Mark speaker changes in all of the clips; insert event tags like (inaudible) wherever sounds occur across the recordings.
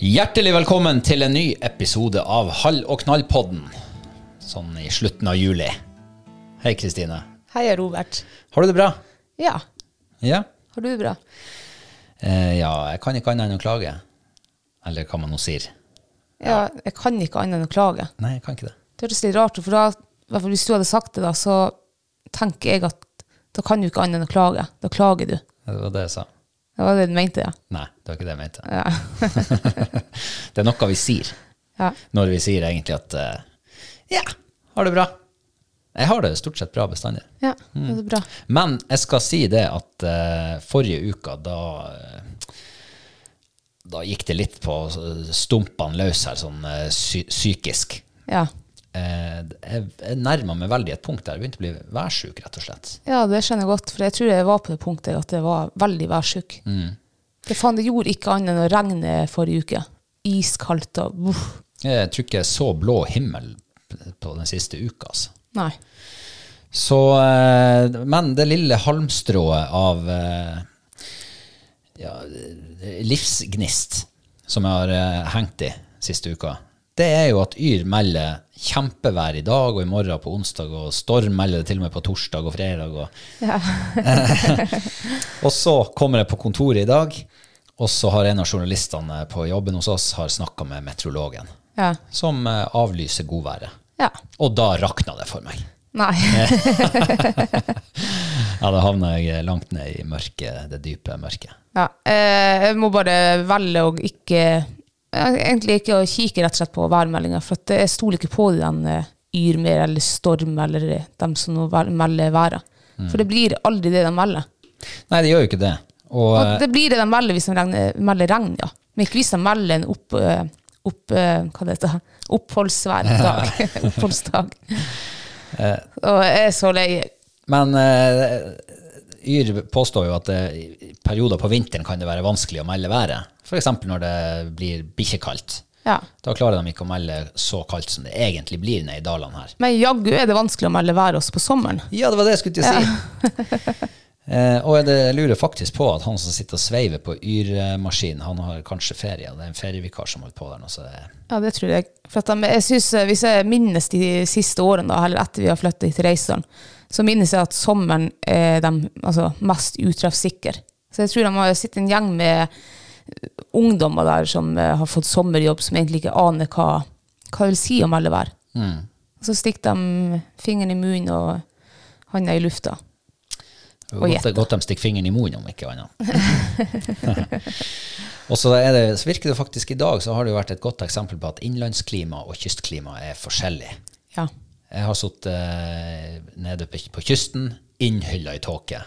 Speaker 1: Hjertelig velkommen til en ny episode av Hall og knall-podden. Sånn i slutten av juli. Hei, Kristine.
Speaker 2: Hei, Robert.
Speaker 1: Har du det bra?
Speaker 2: Ja,
Speaker 1: Ja?
Speaker 2: har du det bra?
Speaker 1: Eh, ja, jeg kan ikke annet enn å klage. Eller hva man nå sier.
Speaker 2: Ja, jeg kan ikke annet enn å klage.
Speaker 1: Nei, jeg kan ikke det.
Speaker 2: Det høres litt rart ut, for da, i hvert fall hvis du hadde sagt det, da, så tenker jeg at da kan du ikke annet enn å klage. Da klager du.
Speaker 1: Det var det jeg sa.
Speaker 2: Det var det du mente, ja.
Speaker 1: Nei, det var ikke det jeg mente. (laughs) det er noe vi sier
Speaker 2: Ja,
Speaker 1: når vi sier egentlig at eh, Ja, har det bra. Jeg har det stort sett bra bestandig.
Speaker 2: ja det er bra.
Speaker 1: Men jeg skal si det at eh, forrige uka, da eh, Da gikk det litt på eh, stumpene løs her, sånn eh, psy psykisk.
Speaker 2: Ja.
Speaker 1: Eh, jeg jeg nærma meg veldig et punkt der. Jeg begynte å bli værsjuk, rett og slett.
Speaker 2: ja, det skjønner jeg godt, for jeg tror jeg var på det punktet at jeg var veldig værsjuk. Det, faen, det gjorde ikke annet enn å regne forrige uke. Iskaldt og uff.
Speaker 1: Jeg tror ikke jeg så blå himmel p- på den siste uka, altså.
Speaker 2: Nei.
Speaker 1: Så eh, Men det lille halmstrået av eh, ja, livsgnist som jeg har eh, hengt i siste uka, det er jo at Yr melder kjempevær i dag og i morgen på onsdag, og Storm melder det til og med på torsdag og fredag. Og, (laughs) og så kommer jeg på kontoret i dag, og så har en av journalistene på jobben hos oss har snakka med meteorologen,
Speaker 2: Ja.
Speaker 1: som eh, avlyser godværet.
Speaker 2: Ja.
Speaker 1: Og da rakna det for meg.
Speaker 2: Nei.
Speaker 1: Ja, da havna jeg eh, langt ned i mørket, det dype mørket.
Speaker 2: Ja, eh, jeg må bare velge å ikke eh, Egentlig ikke å kikke rett og slett på værmeldinga, for at jeg stoler ikke på den eh, Yrmer eller Storm eller eh, dem som nå vel- melder været. For det blir aldri det de melder.
Speaker 1: Nei, det gjør jo ikke det. Og,
Speaker 2: Og det blir det de melder hvis de regner, melder regn, ja. Men ikke hvis de melder en opp, eh, opp, eh, hva det heter, (laughs) oppholdsvær dag. Oppholdsdag. Og jeg er så lei.
Speaker 1: men eh, Yr påstår jo at det, i perioder på vinteren kan det være vanskelig å melde været. F.eks. når det blir bikkjekaldt.
Speaker 2: Ja.
Speaker 1: Da klarer de ikke å melde så kaldt som det egentlig blir nede i dalene her.
Speaker 2: Men jaggu er det vanskelig å melde været også på sommeren.
Speaker 1: Ja, det var det jeg skulle til å si. (laughs) Eh, og det, jeg lurer faktisk på at han som sitter og sveiver på Yr-maskinen, han har kanskje ferie. Det er en ferievikar som holder på der nå, så det
Speaker 2: Ja, det tror jeg. For at de, jeg synes, eh, hvis jeg minnes de siste årene, da, eller etter vi har flyttet til Reisan, så minnes jeg at sommeren er de altså, mest utreffsikker. Så jeg tror de har sittet en gjeng med eh, ungdommer der som eh, har fått sommerjobb, som egentlig ikke aner hva, hva det vil si å melde vær. Og så stikker de fingeren i munnen og handa i lufta.
Speaker 1: Det
Speaker 2: Og
Speaker 1: var Godt,
Speaker 2: gjette.
Speaker 1: godt de stikker fingeren i munnen, om ikke annet. (laughs) og så, er det, så virker det faktisk i dag så har det jo vært et godt eksempel på at innlandsklima og kystklima er forskjellig.
Speaker 2: Ja.
Speaker 1: Jeg har sittet eh, nede på, på kysten, innhylla i tåke.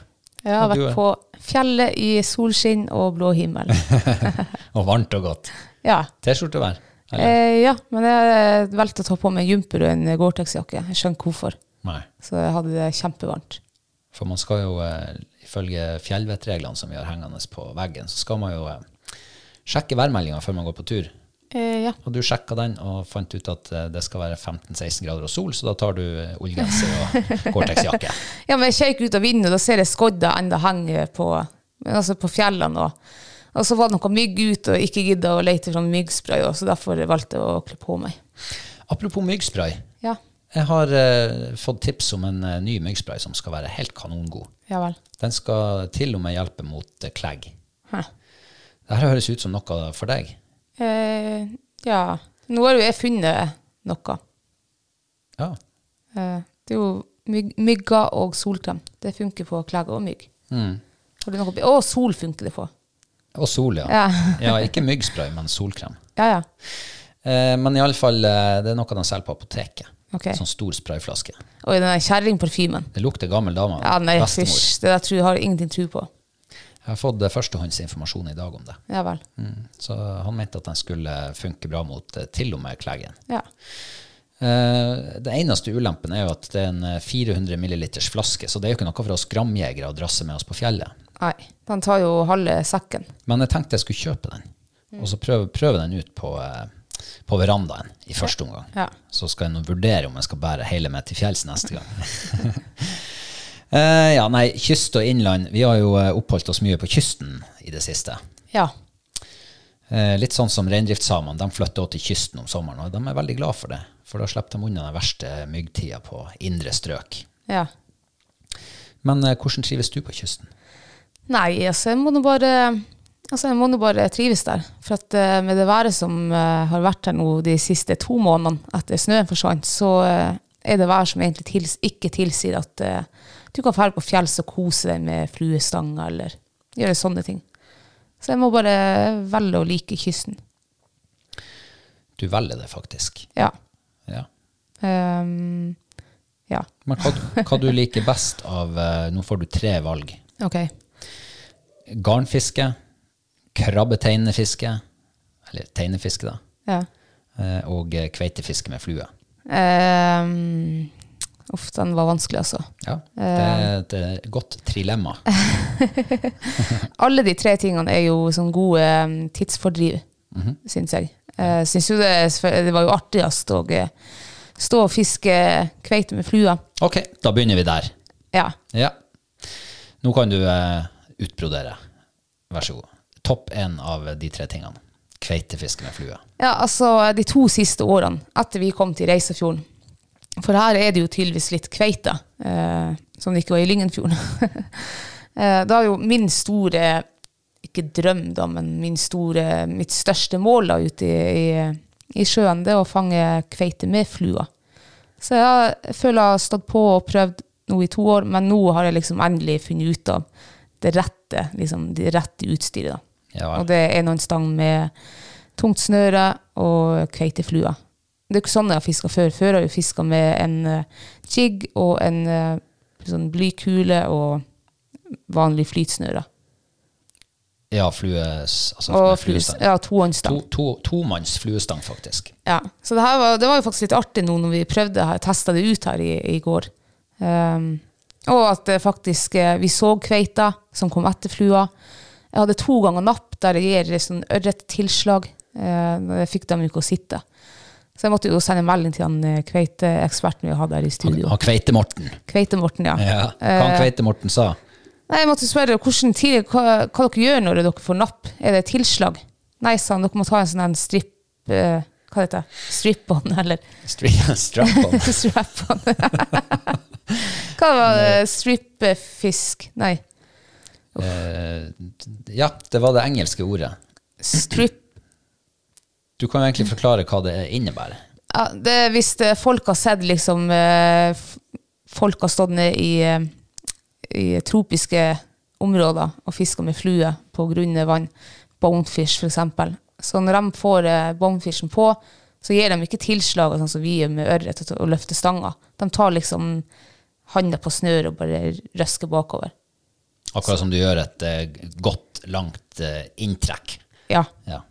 Speaker 2: Jeg har
Speaker 1: Og du
Speaker 2: vært
Speaker 1: er-
Speaker 2: på fjellet i solskinn og blå himmel.
Speaker 1: Og varmt og godt.
Speaker 2: Ja.
Speaker 1: T-skjortevær. Eller?
Speaker 2: Eh, ja, men jeg eh, valgte å ta på meg jumper og en Gore-Tex-jakke. Jeg skjønner hvorfor.
Speaker 1: Nei.
Speaker 2: Så jeg hadde det kjempevarmt.
Speaker 1: For man skal jo, eh, ifølge fjellvettreglene som vi har hengende på veggen, så skal man jo eh, sjekke værmeldinga før man går på tur.
Speaker 2: Eh, ja.
Speaker 1: Og du sjekka den og fant ut at eh, det skal være 15-16 grader og sol, så da tar du eh, ullgenser
Speaker 2: (laughs)
Speaker 1: og Gore-Tex-jakke.
Speaker 2: ja, men jeg kikker ut av vinduet, da ser jeg skodda enda henger på, men altså på fjellene. Og, og så var det noe mygg ute, og ikke gidda å lete fram myggspray, og så derfor valgte jeg å kle på meg.
Speaker 1: Apropos myggspray.
Speaker 2: Ja,
Speaker 1: Jeg har eh, fått tips om en eh, ny myggspray som skal være helt kanongod.
Speaker 2: ja vel.
Speaker 1: Den skal til og med hjelpe mot eh, klegg.
Speaker 2: Hæ.
Speaker 1: Dette høres ut som noe for deg.
Speaker 2: Eh, ja, nå har jo jeg funnet noe.
Speaker 1: Ja.
Speaker 2: Eh, det er jo myg, mygger og solkrem. Det funker på klegg og mygg. Har du noe på? Å, sol funker det på.
Speaker 1: Mm. Og sol, ja.
Speaker 2: Ja.
Speaker 1: (laughs) ja ikke myggspray, men solkrem.
Speaker 2: Ja, ja.
Speaker 1: Eh, men iallfall, eh, det er noe de selger på apoteket.
Speaker 2: Ok.
Speaker 1: Sånn stor sprayflaske.
Speaker 2: Oi, den der kjerringparfymen.
Speaker 1: Det lukter gammel dame.
Speaker 2: Ja, nei,
Speaker 1: bestemor.
Speaker 2: fysj. Det der tror jeg har jeg ingenting tro på.
Speaker 1: Jeg har fått eh, førstehåndsinformasjon i dag om det.
Speaker 2: Ja vel.
Speaker 1: Mm. Så han mente at den skulle funke bra mot eh, til og med kleggen.
Speaker 2: Ja.
Speaker 1: Eh, det eneste ulempen er jo at det er en eh, 400 milliliters flaske, så det er jo ikke noe for oss gramjegere å drasse med oss på fjellet.
Speaker 2: Nei, den tar jo halve sekken.
Speaker 1: Men jeg tenkte jeg skulle kjøpe den,
Speaker 2: Mm.
Speaker 1: og så prøve, prøve den ut på, eh, på verandaen i første omgang.
Speaker 2: Ja.
Speaker 1: Så skal jeg nå vurdere om jeg skal bære hele med til fjells neste gang. (laughs) Eh, ja, nei, kyst og innland. Vi har jo eh, oppholdt oss mye på kysten i det siste.
Speaker 2: Ja.
Speaker 1: Eh, litt sånn som reindriftssamene. De flytter også til kysten om sommeren, og de er veldig glad for det. For da slipper de unna den verste myggtida på indre strøk.
Speaker 2: ja.
Speaker 1: Men eh, hvordan trives du på kysten?
Speaker 2: Nei, altså jeg må nå bare Altså jeg må nå bare trives der. For at eh, med det været som eh, har vært her nå de siste to månedene etter snøen forsvant, så eh, er det vær som egentlig tils, ikke tilsier at eh, du kan dra på fjells og kose deg med fluestanger eller gjøre sånne ting. Så jeg må bare velge å like kysten.
Speaker 1: Du velger det faktisk.
Speaker 2: Ja.
Speaker 1: Ja.
Speaker 2: Ehm, ja.
Speaker 1: Men hva, hva du liker best av eh, Nå får du tre valg.
Speaker 2: Ok.
Speaker 1: Garnfiske, krabbeteinefiske, eller teinefiske, da,
Speaker 2: Ja.
Speaker 1: eh, og eh, kveitefiske med flue.
Speaker 2: Ehm, uff, den var vanskelig, altså.
Speaker 1: Ja, det er et eh, godt trilemma.
Speaker 2: Alle de tre tingene er jo sånn gode eh, tidsfordriv, syns jeg. Uh, syns jo det, det var jo artigst å eh, stå og fiske kveite med flua.
Speaker 1: Ok, da begynner vi der.
Speaker 2: Ja.
Speaker 1: Ja. Nå kan du eh, utbrodere. Vær så god. Topp én av de tre tingene. Kveitefiske med flue.
Speaker 2: ja, altså de to siste årene etter vi kom til Reisafjorden. For her er det jo tydeligvis litt kveite, eh, som det ikke var i Lyngenfjorden. (laughs) eh, da er jo min store, ikke drøm da, men min store, mitt største mål da ute i, i, i sjøen, det er å fange kveite med flua. Så jeg føler jeg har stått på og prøvd nå i to år, men nå har jeg liksom endelig funnet ut av det rette, liksom det rette utstyret da.
Speaker 1: Ja vel.
Speaker 2: og det er nå en stang med tungt snøre og kveiteflua. Det er ikke sånn jeg har fiska før. Før har jeg fiska med en eh, jig og en eh, sånn blykule og vanlig flytsnøre.
Speaker 1: Ja, flues, altså
Speaker 2: Og
Speaker 1: med
Speaker 2: flus,
Speaker 1: fluestang.
Speaker 2: ja, tohåndsstang.
Speaker 1: To, to, tomanns fluestang, faktisk.
Speaker 2: Ja, så det, her var, det var jo faktisk litt artig nå når vi prøvde det her, testa det ut her i, i går. Ehm, og at det faktisk eh, vi så kveita som kom etter flua. Jeg hadde to ganger napp der jeg gir sånn ørrettilslag. Eh, men jeg fikk dem jo ikke å sitte. Så jeg måtte jo sende melding til han eh, kveiteeksperten vi hadde her i studio.
Speaker 1: Og Kveite-Morten.
Speaker 2: Kveite-Morten, ja.
Speaker 1: Ja. Hva han
Speaker 2: Eh.
Speaker 1: Kveite-Morten sa?
Speaker 2: Nei, jeg måtte spørre hvordan tidlig, hva, hva dere gjør når dere får napp. Er det tilslag? Nei, sa han, dere må ta en sånn en stripp... Eh, hva heter det? Strip-on, (laughs) eller?
Speaker 1: Stri- (laughs) Strap-on.
Speaker 2: (laughs) Strap-on. Hva var det? Strippefisk? Nei.
Speaker 1: Eh, Ja, det var det engelske ordet.
Speaker 2: Strip...
Speaker 1: Du kan jo egentlig forklare hva det innebærer.
Speaker 2: Ja, det er hvis eh, folk har sett liksom eh, f- Folk har stått ned i, eh, i tropiske områder og fisker med flue på grunne vann. Bonefish, for eksempel. Så når de får eh, bonefishen på, så gir de ikke tilslag, sånn som vi gjør med ørret, og løfter stanga. De tar liksom handa på snøret og bare røsker bakover.
Speaker 1: Akkurat som du gjør et eh, godt, langt eh, inntrekk.
Speaker 2: Ja.
Speaker 1: Ja.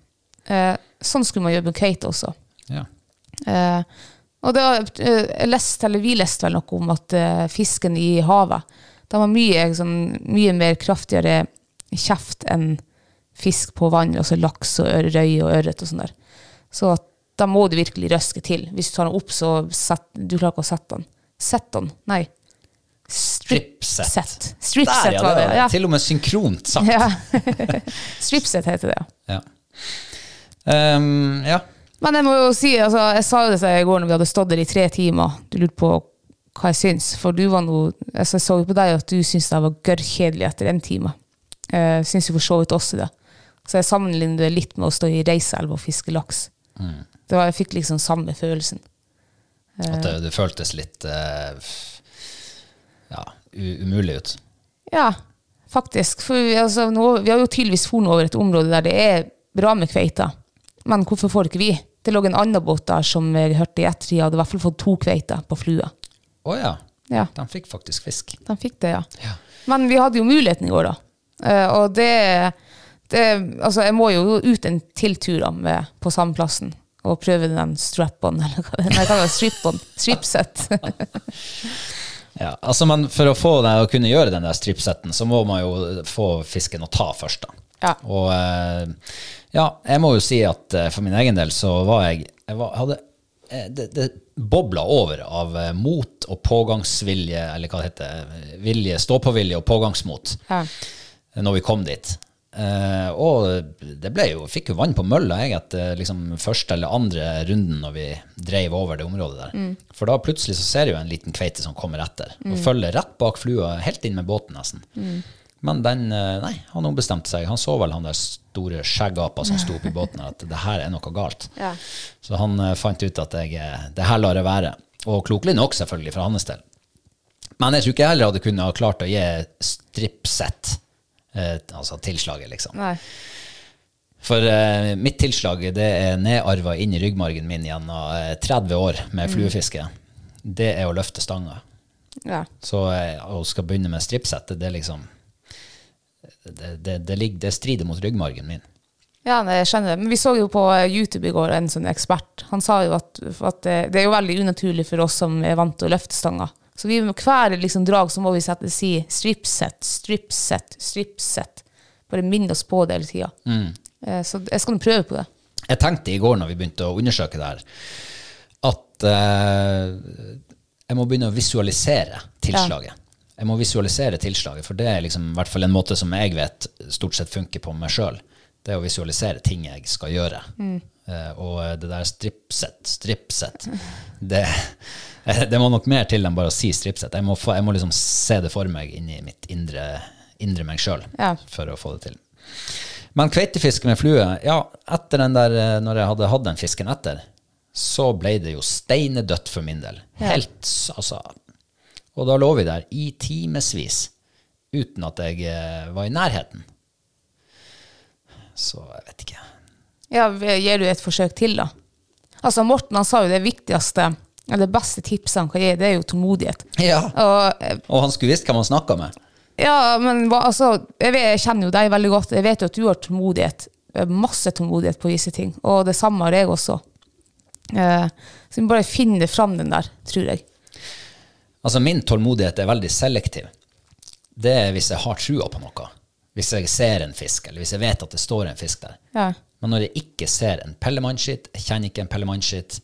Speaker 2: Eh, sånn skulle man gjøre med kite også.
Speaker 1: ja.
Speaker 2: Eh, og det, var- eh, jeg leste, eller vi leste vel noe om at eh, fisken i havet de har mye, sånn, mye mer kraftigere kjeft enn fisk på vann, altså laks og ør- røy og ørret og sånn der. Så at, da må du virkelig røske til. Hvis du tar den opp, så set, du klarer ikke å sette den. Sett den, nei.
Speaker 1: Strip-set.
Speaker 2: Strip-set. Strip-set
Speaker 1: Der, ja,
Speaker 2: var
Speaker 1: det
Speaker 2: det,
Speaker 1: var
Speaker 2: ja.
Speaker 1: til og med synkront sagt.
Speaker 2: (laughs) ja. Strip-set heter det, ja.
Speaker 1: Ja. Ehm, ja.
Speaker 2: Men jeg må jo si, altså, jeg sa jo det til deg i går når vi hadde stått der i tre timer. Du lurte på hva jeg syns. For du var noe, altså, jeg så jo på deg at du syntes det var gørrkjedelig etter en time. Uh, syns jo for så vidt også det. Så jeg sammenligner det litt med å stå i Reiselva og fiske laks. Det var, jeg fikk liksom samme følelsen.
Speaker 1: At det, det føltes litt eh, f- ja, u umulig ut.
Speaker 2: Ja, faktisk. For vi, altså, nå, vi har jo tydeligvis fornet over et område der det er bra med kveiter. Men hvorfor får ikke vi? Det lå en annen båt der som jeg hørte i ettertid hadde i hvert fall fått to kveiter på flua.
Speaker 1: Å ja.
Speaker 2: Ja.
Speaker 1: De fikk faktisk fisk.
Speaker 2: De fikk det, ja.
Speaker 1: Ja.
Speaker 2: Men vi hadde jo muligheten i går, da. Eh, og det, det Altså, jeg må jo ut en til tur da, med, på samme plassen og prøve den strap-on, (laughs) eller hva nei, hva var det? Strip-on? Strip-set.
Speaker 1: Ja, altså, men for å få deg å kunne gjøre den der stripsetten, så må man jo få fisken å ta først, da.
Speaker 2: Ja.
Speaker 1: Og eh, ja, jeg må jo si at eh, for min egen del så var jeg, jeg var, hadde, eh, det, det bobla over av eh, mot og pågangsvilje, eller hva det heter, eh, vilje, stå-på-vilje og pågangsmot
Speaker 2: ja.
Speaker 1: når vi kom dit. Eh, og det ble jo, fikk jo vann på mølla jeg, etter liksom, første eller andre runden når vi dreiv over det området der. For da plutselig så ser jeg jo en liten kveite som kommer etter, og følger rett bak flua, helt inn med båten nesten. Men den, eh, nei, han ombestemte seg. Han så vel han der store skjeggapa som sto oppi båten her, at det her er noe galt. Så han eh, fant ut at jeg, eh, det her lar jeg være. Og klokelig nok, selvfølgelig, fra hans del. Men jeg tror ikke jeg heller hadde kunnet ha klart å gi stripset, eh, altså tilslaget, liksom.
Speaker 2: Nei.
Speaker 1: For eh, mitt tilslag det er nedarva inn i ryggmargen min gjennom eh, 30 år med fluefiske. Det er å løfte stanga.
Speaker 2: Ja.
Speaker 1: Så eh, å skal begynne med stripsettet, det er liksom det, det, det, ligger, det strider mot ryggmargen min.
Speaker 2: Ja, nei, jeg skjønner det. Men vi så jo på eh, YouTube i går en sånn ekspert. Han sa jo at, at eh, det er jo veldig unaturlig for oss som er vant til å løfte stanger. Så vi må hver liksom drag så må vi sette, si stripset, stripset, stripset. Bare minn oss på det hele tida. Så jeg skal nå prøve på det.
Speaker 1: Jeg tenkte i går når vi begynte å undersøke det her, at eh, jeg må begynne å visualisere tilslaget. Jeg må visualisere tilslaget, for det er liksom, i hvert fall en måte som jeg vet stort sett funker på meg sjøl. Det er å visualisere ting jeg skal gjøre. Eh, og det der stripset, stripset det, (laughs) det må nok mer til enn bare å si stripset. Jeg må, få, jeg må liksom se det for meg inni mitt indre, indre meg sjøl
Speaker 2: Ja.
Speaker 1: for å få det til. Men kveitefiske med flue, ja, etter den der, eh, når jeg hadde hatt den fisken etter, så ble det jo steinedødt for min del. Helt, s- altså. Og da lå vi der i timevis uten at jeg eh, var i nærheten. Så jeg vet ikke. (laughs)
Speaker 2: Ja, Gir du et forsøk til, da? Altså, Morten han sa jo det viktigste, eller det beste tipset han kan gi, det er jo tålmodighet.
Speaker 1: Ja.
Speaker 2: Og eh,
Speaker 1: Og han skulle visst hvem han snakka med.
Speaker 2: Ja, men hva- altså, jeg, vet, jeg kjenner jo deg veldig godt. Jeg vet jo at du har tålmodighet. eh, Masse tålmodighet på visse ting. Og det samme har jeg også. Eh, så vi må bare finne fram den der, tror jeg.
Speaker 1: Altså, min tålmodighet er veldig selektiv. Det er hvis jeg har trua på noe. Hvis jeg ser en fisk, eller hvis jeg vet at det står en fisk der.
Speaker 2: Ja.
Speaker 1: Men når jeg ikke ser en pellemannskitt, jeg kjenner ikke en pellemannskitt,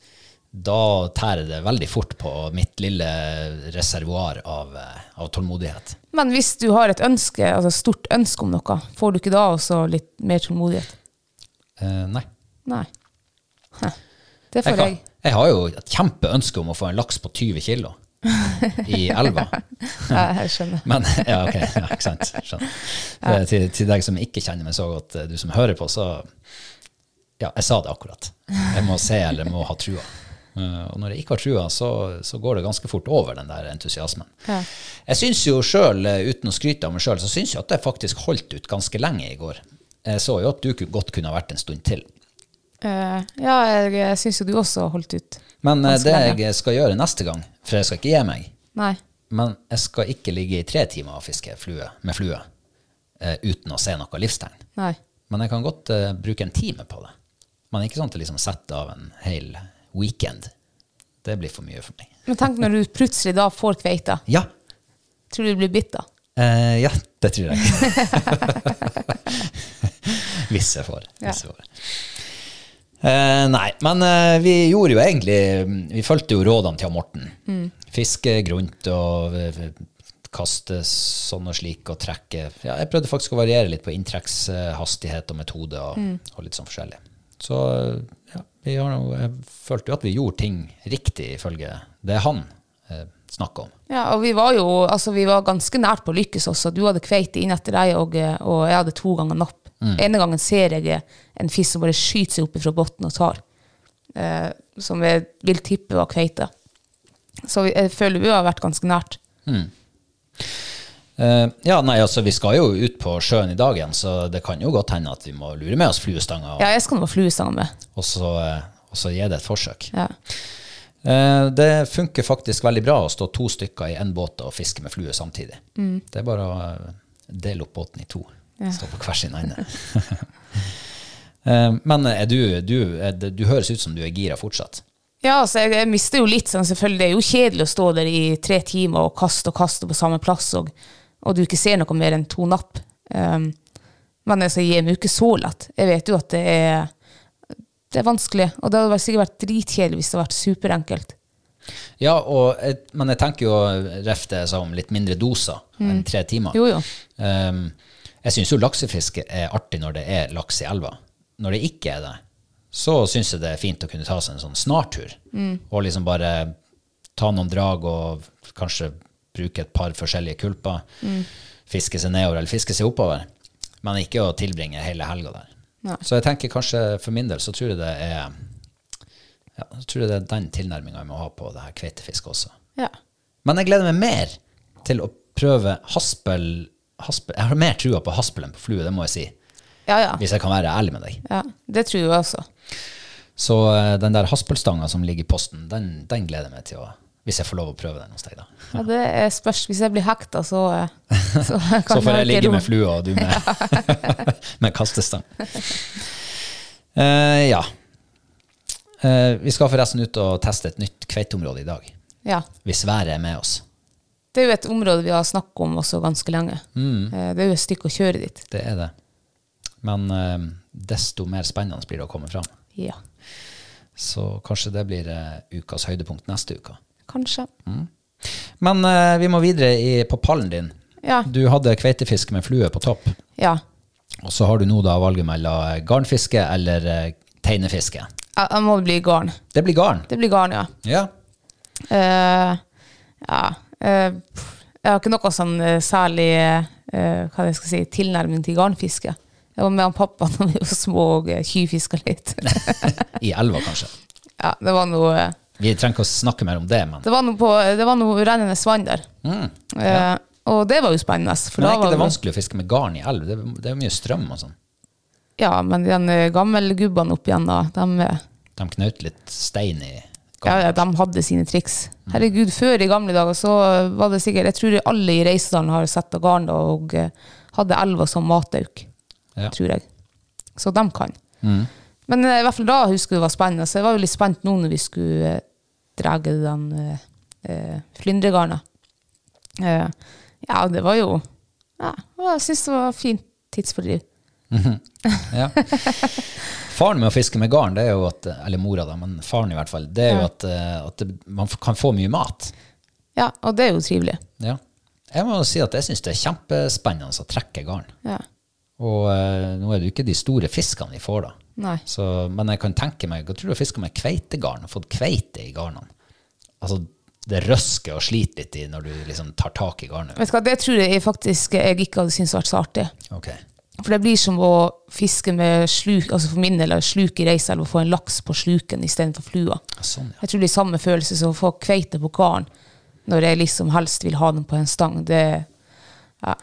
Speaker 1: da tærer det veldig fort på mitt lille reservoar av, eh, av tålmodighet.
Speaker 2: Men hvis du har et ønske, altså stort ønske om noe, får du ikke da også litt mer tålmodighet?
Speaker 1: Eh, nei.
Speaker 2: Nei. Hæ. Det
Speaker 1: Jeg,
Speaker 2: får
Speaker 1: kan,
Speaker 2: jeg.
Speaker 1: jeg har jo et kjempeønske om å få en laks på 20 kilo i elva.
Speaker 2: (laughs) Ja, jeg skjønner.
Speaker 1: Men ja, ok, ja, ikke sant. Skjønner. Eh, Til, til deg som ikke kjenner meg så godt, eh, du som hører på, så Ja, jeg sa det akkurat. Jeg må se eller må ha trua. Eh, Og når jeg ikke har trua, så, så går det ganske fort over den der entusiasmen.
Speaker 2: Ja.
Speaker 1: Jeg syns jo sjøl, uten å skryte av meg sjøl, så syns jeg at jeg faktisk holdt ut ganske lenge i går. Jeg så jo at du ku- godt kunne ha vært en stund til.
Speaker 2: Eh, ja, jeg, jeg syns jo du også holdt ut.
Speaker 1: Men eh,
Speaker 2: Ganske
Speaker 1: det
Speaker 2: lenge.
Speaker 1: jeg skal gjøre neste gang, for jeg skal ikke gi meg,
Speaker 2: Nei.
Speaker 1: men jeg skal ikke ligge i tre timer og fiske flue, med flue eh, uten å se noe livstegn.
Speaker 2: Nei.
Speaker 1: Men jeg kan godt eh, bruke en time på det. Men ikke sånn at jeg liksom setter av en hel weekend. Det blir for mye for meg.
Speaker 2: Men tenk når du plutselig da får kveita.
Speaker 1: Ja,
Speaker 2: Tror du du blir bitt da?
Speaker 1: eh, ja det tror jeg. Hvis jeg får. Hvis jeg får. Eh, nei, men eh, vi gjorde jo egentlig Vi fulgte jo rådene til Morten. Fiske grunt og eh, kaste sånn og slik og trekke. Ja, jeg prøvde faktisk å variere litt på inntrekkshastighet og metode og, og litt sånn forskjellig. Så ja, vi har, jo- jeg følte jo at vi gjorde ting riktig ifølge det han eh, snakker om.
Speaker 2: Ja, og vi var jo altså, vi var ganske nært på å lykkes også. Du hadde kveite inn etter deg, og, eh, og jeg hadde to ganger napp. Ene gangen ser jeg eh, en fisk som bare skyter seg opp fra bunnen og tar. Eh, som jeg vil tippe var kveite. Så vi, jeg føler vi har vært ganske nært.
Speaker 1: Eh, ja, nei, altså Vi skal jo ut på sjøen i dag igjen, så det kan jo godt hende at vi må lure med oss fluestanger
Speaker 2: Ja, jeg skal nå ha fluestang med.
Speaker 1: og, så, eh, og så gi det et forsøk.
Speaker 2: Ja.
Speaker 1: Eh, det funker faktisk veldig bra å stå to stykker i én båt og fiske med flue samtidig.
Speaker 2: Mm.
Speaker 1: Det er bare å eh, dele opp båten i to. Stå på hver sin ende. (laughs) Eh, Men er du, du, er, det- du høres ut som du er gira fortsatt.
Speaker 2: Ja, altså, jeg, jeg mister jo litt, sånn selvfølgelig. Det er jo kjedelig å stå der i tre timer og kaste og kaste på samme plass, og, og du ikke ser noe mer enn to napp. Um, men altså, jeg gir meg jo ikke så lett. Jeg vet jo at det er, det er vanskelig, og det hadde vel sikkert vært dritkjedelig hvis det hadde vært superenkelt.
Speaker 1: Ja, og, jeg- men jeg tenker jo ref det jeg sa om litt mindre doser enn tre timer.
Speaker 2: Mm. Jo, jo.
Speaker 1: Um, jeg syns jo laksefiske er artig når det er laks i elva. Når det ikke er det, så syns jeg det er fint å kunne ta seg en sånn snartur. Og liksom bare ta noen drag og kanskje bruke et par forskjellige kulper. Fiske seg nedover eller fiske seg oppover. Men ikke å tilbringe hele helga der. Så jeg tenker kanskje for min del så tror jeg det er ja, så tror jeg det er den tilnærminga jeg må ha på det her kveitefisket også.
Speaker 2: Ja.
Speaker 1: Men jeg gleder meg mer til å prøve haspel, haspel Jeg har mer trua på haspel enn på flue, det må jeg si.
Speaker 2: Ja, ja.
Speaker 1: Hvis jeg kan være ærlig med deg.
Speaker 2: ja. Det tror jeg også.
Speaker 1: Så eh, den der haspelstanga som ligger i posten, den, den gleder jeg meg til å Hvis jeg får lov å prøve den hos deg, da.
Speaker 2: Ja, det er spørs. Hvis jeg blir hekta, så,
Speaker 1: (laughs)
Speaker 2: eh, så,
Speaker 1: Så får jeg
Speaker 2: ikke
Speaker 1: ligge
Speaker 2: ro.
Speaker 1: med flua, og du med, (laughs) med kastestang. Eh, ja. Eh, vi skal forresten ut og teste et nytt kveiteområde i dag.
Speaker 2: Ja.
Speaker 1: Hvis været er med oss.
Speaker 2: Det er jo et område vi har snakket om også ganske lenge.
Speaker 1: Mm.
Speaker 2: Eh, Det er jo et stykke å kjøre dit.
Speaker 1: Det er det. Men eh, desto mer spennende blir det å komme fram.
Speaker 2: Ja.
Speaker 1: Så kanskje det blir eh, ukas høydepunkt neste uke.
Speaker 2: Kanskje.
Speaker 1: Men eh, vi må videre i, på pallen din.
Speaker 2: Ja.
Speaker 1: Du hadde kveitefisk med flue på topp.
Speaker 2: Ja.
Speaker 1: Og så har du nå da valget mellom eh, garnfiske eller eh, teinefiske.
Speaker 2: Jeg, jeg må bli garn.
Speaker 1: Det blir garn.
Speaker 2: Det blir garn, ja.
Speaker 1: Ja.
Speaker 2: Eh, ja. eh, pff, jeg har ikke noe sånn eh, særlig eh, hva jeg skal si, tilnærming til garnfiske. Jeg var med han pappa da vi var små og eh, tjuvfiska
Speaker 1: (laughs)
Speaker 2: litt.
Speaker 1: I elva, kanskje.
Speaker 2: ja, det var noe, eh,
Speaker 1: Vi trenger ikke å snakke mer om det, men,
Speaker 2: det var noe, på, det var noe rennende vann der. Eh, og det var jo spennende. For
Speaker 1: men
Speaker 2: da
Speaker 1: er ikke
Speaker 2: var
Speaker 1: det
Speaker 2: vi-
Speaker 1: vanskelig å fiske med garn i elv? Det, det er jo mye strøm og sånn.
Speaker 2: Ja, men de gamle gubbene opp igjen da, de, eh,
Speaker 1: De knaut litt stein i
Speaker 2: ja,
Speaker 1: garn.
Speaker 2: ja, de hadde sine triks. Herregud, før i gamle dager så var det sikkert Jeg tror alle i Reisedalen har sett av garn og eh, hadde elva som matauk,
Speaker 1: Ja.
Speaker 2: tror jeg. Så de kan. Men eh, i hvert fall da husker jeg det var spennende. Så jeg var jo litt spent nå når vi skulle eh, dra den eh, eh, flyndregarna. Eh, ja, det var jo ja, Jeg syns det var fint tidsfordriv.
Speaker 1: Ja. (laughs) Faren med å fiske med garn, det er jo at, eller mora da, men faren i hvert fall, det er jo
Speaker 2: Ja.
Speaker 1: at, eh, at det, man f- kan få mye mat.
Speaker 2: Ja, og det er jo trivelig.
Speaker 1: Ja. Jeg må jo si at jeg syns det er kjempespennende å trekke garn.
Speaker 2: Ja.
Speaker 1: Og eh, nå er det jo ikke de store fiskene vi får, da.
Speaker 2: Nei.
Speaker 1: Så, men jeg kan tenke meg Jeg tror jeg fisker med kveitegarn og fått kveite i garnene. Altså, det røsker og sliter litt i når du liksom tar tak i garnet.
Speaker 2: Vet du hva, Det tror jeg faktisk jeg ikke hadde syntes vært så artig.
Speaker 1: Ok.
Speaker 2: For det blir som å fiske med sluk, altså for min del er det sluk i reiselv og få en laks på sluken istedenfor flua.
Speaker 1: Sånn, ja.
Speaker 2: Jeg tror det er samme følelse som å få kveite på garn når jeg liksom helst vil ha den på en stang. Det, ja.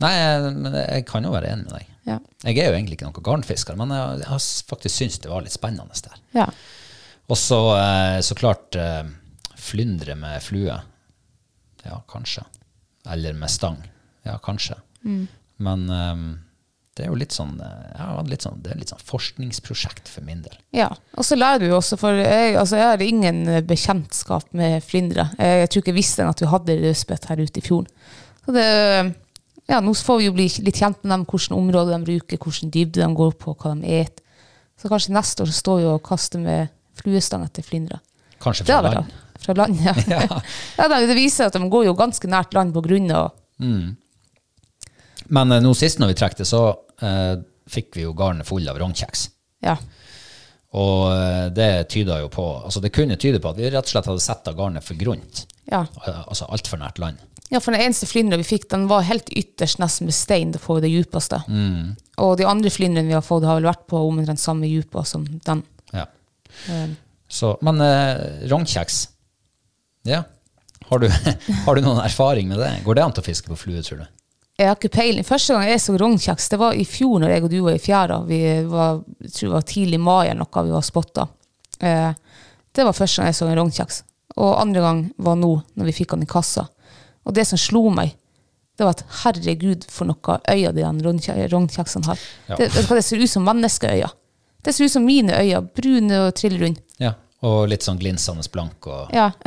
Speaker 1: Nei, jeg- men jeg kan jo være enig med deg.
Speaker 2: Ja.
Speaker 1: Jeg er jo egentlig ikke noen garnfisker, men jeg, jeg har s- faktisk syntes det var litt spennende der.
Speaker 2: ja.
Speaker 1: Og så eh, så klart eh, flyndre med flue. Ja, kanskje. Eller med stang. Ja, kanskje.
Speaker 2: Mm.
Speaker 1: Men eh, det er jo litt sånn, eh, jeg har hatt litt sånn Det er litt sånn forskningsprosjekt for min del.
Speaker 2: ja. Og så lærer du jo også, for jeg, altså jeg har ingen bekjentskap med flyndre. Jeg, jeg tror ikke jeg visste enn at vi hadde rødspett her ute i fjorden. Så det, ja, nå får vi jo bli litt kjent med dem, hvilke områder de bruker, hvilken dybde de går på, hva de et. Så kanskje neste år så står vi og kaster med fluestang etter flyndre.
Speaker 1: Kanskje
Speaker 2: Det
Speaker 1: fra
Speaker 2: har vært
Speaker 1: land.
Speaker 2: rart. Fra land,
Speaker 1: (laughs)
Speaker 2: ja. (laughs) ja. da, det viser at de går jo ganske nært land på grunn av
Speaker 1: Men eh, nå sist når vi trekte, så eh, fikk vi jo garnet full av rognkjeks.
Speaker 2: ja.
Speaker 1: Og eh, det tyda jo på Altså det kunne tyde på at vi rett og slett hadde sett av garnet for grunt.
Speaker 2: Ja.
Speaker 1: Eh, Altså altfor nært land.
Speaker 2: ja, for den eneste flyndra vi fikk, den var helt ytterst nesten med stein på det djupeste. Og de andre flyndrene vi har fått, har vel vært på omtrent samme djupa som den.
Speaker 1: Ja. Så, men eh, rognkjeks, ja. Har du, (laughs) har du noen erfaring med det? Går det an til å fiske på flue, tror du?
Speaker 2: Jeg har ikke peiling. Første gang jeg så rognkjeks, det var i fjor når jeg og du var i fjæra. Vi var, jeg tror det var tidlig i mai eller noe vi var spotta. Eh, det var første gang jeg så en rognkjeks. Og andre gang var nå, når vi fikk han i kassa. Og det som slo meg, det var at herregud for noe øyne de den rognkje- rognkjeksene har.
Speaker 1: Ja.
Speaker 2: Det, vet du hva, det ser ut som menneskeøyne. Det ser ut som mine øyne, brune og trillrunde.
Speaker 1: Ja. Og litt sånn glinsende blank og
Speaker 2: Ja. (laughs)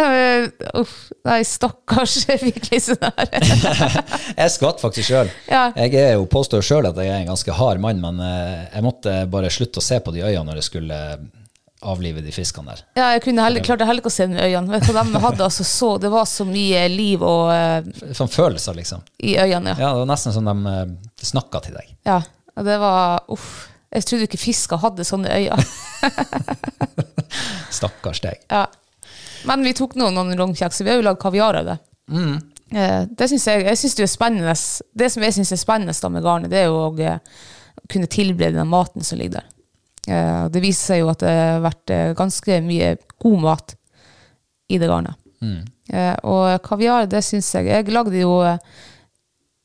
Speaker 2: ja men, uff, nei, stakkars. (laughs) Jeg fikk litt sånn her.
Speaker 1: Jeg skvatt faktisk sjøl.
Speaker 2: Ja.
Speaker 1: Jeg er jo påstår sjøl at jeg er en ganske hard mann, men eh, jeg måtte bare slutte å se på de øynene når jeg skulle eh, avlive de fiskene der.
Speaker 2: Ja, jeg kunne heller, klarte heller ikke å se den i øynene. Vet du hva de hadde altså så, Det var så mye liv og, eh,
Speaker 1: Sånn følelser, liksom.
Speaker 2: i øynene. Ja.
Speaker 1: Ja, Det var nesten som de uh, snakka til deg.
Speaker 2: ja. og Det var Uff. Jeg trodde ikke fisker hadde sånne øyne.
Speaker 1: Stakkars deg.
Speaker 2: Ja. Men vi tok nå noen rognkjeks, så vi har jo lagd kaviar av det. Eh, Det synes jeg, jeg synes det er spennende. Det som jeg syns er spennende da med garnet, det er jo å eh, kunne tilberede den maten som ligger der. Eh, og Det viser seg jo at det har vært eh, ganske mye god mat i det garnet. Eh, Og kaviar, det syns jeg Jeg lagde jo eh,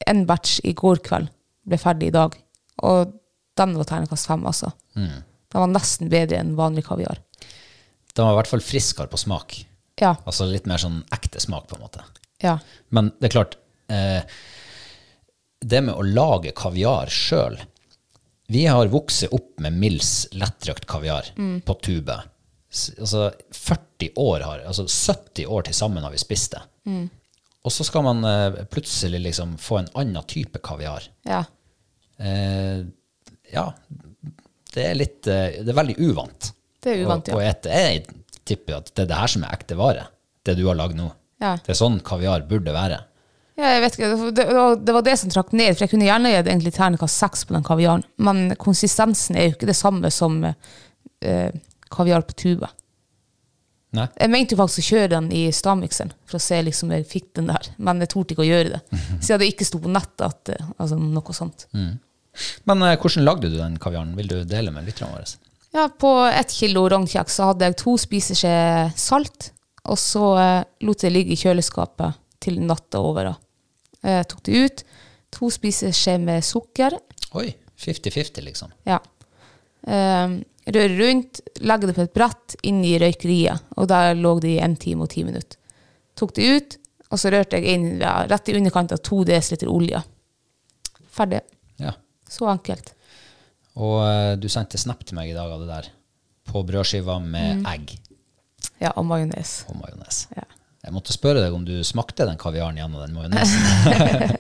Speaker 2: en batch i går kveld, ble ferdig i dag. Og den var terningkast fem, altså. Den var nesten bedre enn vanlig kaviar.
Speaker 1: De var i hvert fall friskere på smak.
Speaker 2: Ja.
Speaker 1: Altså litt mer sånn ekte smak, på en måte.
Speaker 2: ja.
Speaker 1: Men det er klart, eh, det med å lage kaviar sjøl Vi har vokst opp med Mills lettdrøkt kaviar
Speaker 2: Mm.
Speaker 1: på tube. S- Altså 40 år har, altså 70 år til sammen har vi spist det.
Speaker 2: Mm.
Speaker 1: Og så skal man eh, plutselig liksom få en annen type kaviar.
Speaker 2: ja.
Speaker 1: Eh, ja, det er litt eh, Det er veldig uvant.
Speaker 2: Det er uvant,
Speaker 1: å, å
Speaker 2: ja.
Speaker 1: ete. Jeg tipper at det er det her som er ekte vare. Det du har lagd nå.
Speaker 2: Ja.
Speaker 1: Det er sånn kaviar burde være.
Speaker 2: Ja, jeg vet ikke, det- det, var- det var det som trakk ned, for jeg kunne gjerne gitt egentlig terningkast seks på den kaviaren, men konsistensen er jo ikke det samme som eh, kaviar på tube.
Speaker 1: Nei.
Speaker 2: Jeg mente jo faktisk å kjøre den i stavmikseren, for å se liksom jeg fikk den der, men jeg torde ikke å gjøre det, siden det ikke sto på nettet at, eh, altså noe sånt.
Speaker 1: Men eh, hvordan lagde du den kaviaren? Vil du dele med lytterne våre?
Speaker 2: Ja, på ett kilo rognkjeks så hadde jeg to spiseskje salt, og så eh, lot jeg det ligge i kjøleskapet til natta over. da. Jeg tok det ut, to spiseskje med sukker,
Speaker 1: Oi, 50-50, liksom.
Speaker 2: Ja. Ehm, røre rundt, legge det på et brett inn i røykeriet, og der lå det i en time og ti minutter. Tok det ut, og så rørte jeg inn ja, rett i underkant av to dl olje. Ferdig.
Speaker 1: Ja.
Speaker 2: Så enkelt.
Speaker 1: Og eh, du sendte snap til meg i dag av det der. På brødskiva med egg
Speaker 2: Ja, og majones.
Speaker 1: og majones.
Speaker 2: Ja.
Speaker 1: Jeg måtte spørre deg om du smakte den kaviaren gjennom den majonesen.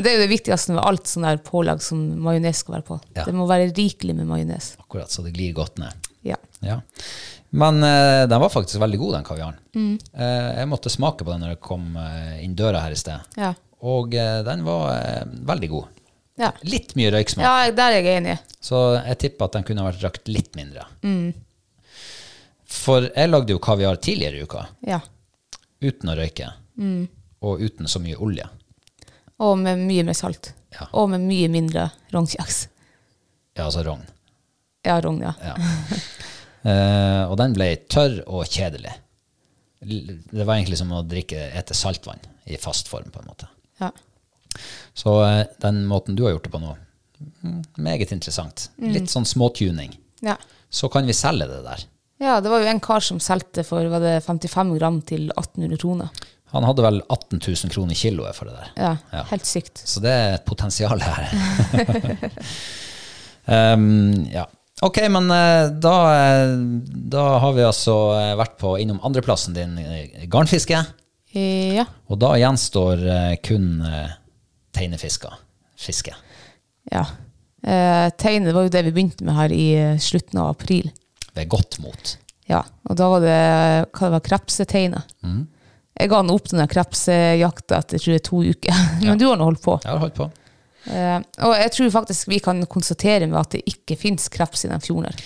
Speaker 2: Det er jo det viktigste med alt sånn der pålegg som majones skal være på.
Speaker 1: Ja.
Speaker 2: Det må være rikelig med majones.
Speaker 1: Akkurat så det glir godt ned.
Speaker 2: Ja.
Speaker 1: Ja. Men eh, den var faktisk veldig god, den kaviaren. Eh, jeg måtte smake på den når jeg kom eh, inn døra her i sted.
Speaker 2: Ja.
Speaker 1: Og eh, den var eh, veldig god.
Speaker 2: Ja.
Speaker 1: Litt mye røyksmak,
Speaker 2: ja, der er jeg enig.
Speaker 1: så jeg tipper at den kunne vært røkt litt mindre. For jeg lagde jo kaviar tidligere i uka,
Speaker 2: Ja.
Speaker 1: uten å røyke. Og uten så mye olje.
Speaker 2: Og med mye mer salt.
Speaker 1: Ja.
Speaker 2: Og med mye mindre rognkjeks.
Speaker 1: Ja, altså rogn.
Speaker 2: Ja, rogn, ja. (laughs)
Speaker 1: Ja. Eh, og den ble tørr og kjedelig. L- Det var egentlig som å drikke ete saltvann i fast form, på en måte.
Speaker 2: ja.
Speaker 1: Så eh, den måten du har gjort det på nå, mm, meget interessant. Litt sånn småtuning.
Speaker 2: ja.
Speaker 1: Så kan vi selge det der.
Speaker 2: Ja, det var jo en kar som solgte for var det 55 gram til 1800 kroner.
Speaker 1: Han hadde vel 18 000 kroner kiloet for det der.
Speaker 2: Ja,
Speaker 1: Ja.
Speaker 2: Helt sykt.
Speaker 1: Så det er et potensial her. (laughs) um, ja. Ok, men eh, da, eh, da har vi altså eh, vært på innom andreplassen din, eh, garnfiske.
Speaker 2: Eh, Ja.
Speaker 1: Og da gjenstår eh, kun eh, teinefisker. Fiske.
Speaker 2: ja. Eh, Tegnet var jo det vi begynte med her i eh, slutten av april.
Speaker 1: Ved godt mot.
Speaker 2: Ja, Og da var det hva det var, krepseteinet. Jeg ga nå opp den der krepsejakta etter tror jeg, to uker, (laughs) men du har nå holdt på.
Speaker 1: Jeg har holdt på.
Speaker 2: Eh, og jeg tror faktisk vi kan konstatere med at det ikke fins kreps i den fjorden her.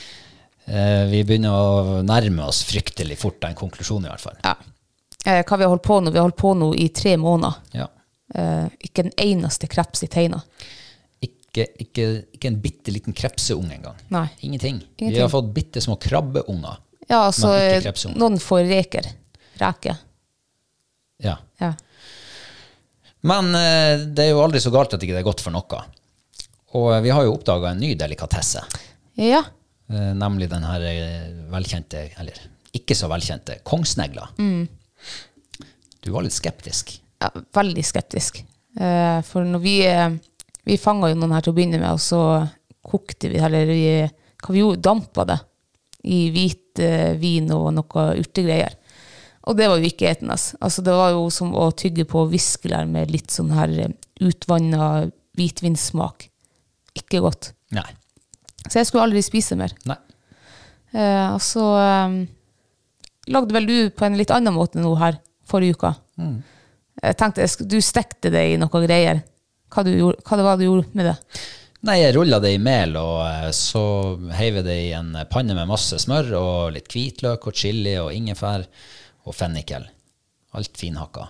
Speaker 1: Eh, vi begynner å nærme oss fryktelig fort den konklusjonen, i hvert fall.
Speaker 2: Ja. Eh, hva vi har holdt på nå? Vi har holdt på nå i tre måneder.
Speaker 1: Ja.
Speaker 2: Eh, ikke en eneste kreps i teina.
Speaker 1: Ikke, ikke, ikke en bitte liten krepseunge engang.
Speaker 2: Nei.
Speaker 1: Ingenting. Vi
Speaker 2: Ingenting.
Speaker 1: har fått bitte små krabbeunger.
Speaker 2: Ja, altså
Speaker 1: Men ikke krepsunger.
Speaker 2: noen får reker. Reker.
Speaker 1: Ja.
Speaker 2: Ja.
Speaker 1: Men eh, det er jo aldri så galt at ikke det er godt for noe. Og eh, vi har jo oppdaga en ny delikatesse,
Speaker 2: ja.
Speaker 1: eh, nemlig den her eh, velkjente, eller ikke så velkjente, kongsnegla. Du var litt skeptisk.
Speaker 2: ja veldig skeptisk. Eh, for når vi, eh, vi fanga jo noen her til å begynne med, og så kokte vi, eller vi, hva vi gjorde, dampa det i hvit eh, vin og noe urtegreier. Og det var jo ikke etende. Altså, det var jo som å tygge på viskelær med litt sånn her utvanna hvitvinssmak. Ikke godt.
Speaker 1: Nei.
Speaker 2: Så jeg skulle aldri spise mer.
Speaker 1: Nei.
Speaker 2: Eh, og så eh, lagde vel du på en litt annen måte nå her forrige uka.
Speaker 1: Mm.
Speaker 2: Jeg tenkte, jeg sk- Du stekte det i noe greier. Hva, du gjorde, hva det var du gjorde med det?
Speaker 1: Nei, jeg rulla det i mel, og eh, så heiv jeg det i en panne med masse smør og litt hvitløk og chili og ingefær og fennikel. Alt finhakka.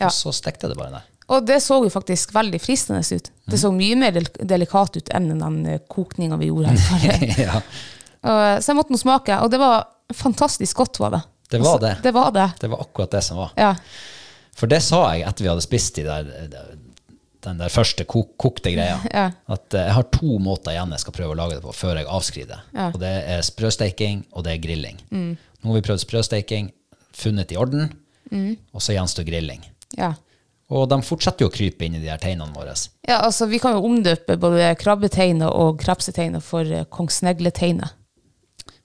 Speaker 2: Ja.
Speaker 1: Og så stekte jeg det bare der. (laughs)
Speaker 2: Og det så jo faktisk veldig fristende ut.
Speaker 1: Mm.
Speaker 2: Det så mye mer del delikat ut enn den eh, kokninga vi gjorde her. forrige.
Speaker 1: (laughs) ja.
Speaker 2: Og, eh, så jeg måtte nå smake, og det var fantastisk godt, var det. Altså,
Speaker 1: Det var det.
Speaker 2: det var det.
Speaker 1: Det var akkurat det som var.
Speaker 2: Ja.
Speaker 1: For det sa jeg etter vi hadde spist de der, den der første kok, kokte greia.
Speaker 2: Ja.
Speaker 1: At eh, jeg har to måter igjen jeg skal prøve å lage det på før jeg avskriver det. Og det er sprøsteiking, og det er grilling. Nå har vi prøvd sprøsteiking, funnet i orden, og så gjenstår grilling.
Speaker 2: ja.
Speaker 1: Og de fortsetter jo å krype inn i de her teinene våre.
Speaker 2: ja, altså Vi kan jo omdøpe både krabbeteiner og krepseteiner for eh, kongsnegleteiner.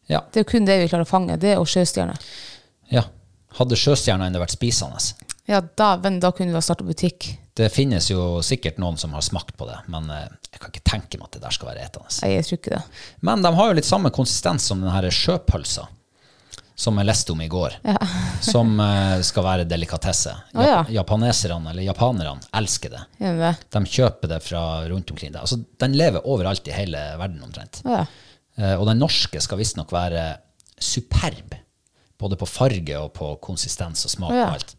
Speaker 1: Ja.
Speaker 2: Det er jo kun det vi klarer å fange, det og sjøstjerner.
Speaker 1: ja. Hadde sjøstjerna ennå vært spisende?
Speaker 2: Ja, dæven, da kunne vi ha starta butikk.
Speaker 1: Det finnes jo sikkert noen som har smakt på det, men eh, jeg kan ikke tenke meg at det der skal være etende.
Speaker 2: Nei, jeg tror ikke det.
Speaker 1: Men de har jo litt samme konsistens som den her sjøpølsa, som jeg leste om i går. (laughs) som eh, skal være delikatesse.
Speaker 2: Å, ja.
Speaker 1: Jap- Japaneserne, eller japanerne, elsker det.
Speaker 2: Er det det?
Speaker 1: De kjøper det fra rundt omkring. det. Altså, den lever overalt i hele verden omtrent.
Speaker 2: Å ja.
Speaker 1: Eh, og den norske skal visstnok være superb, både på farge og på konsistens og smak
Speaker 2: Å, ja.
Speaker 1: og alt.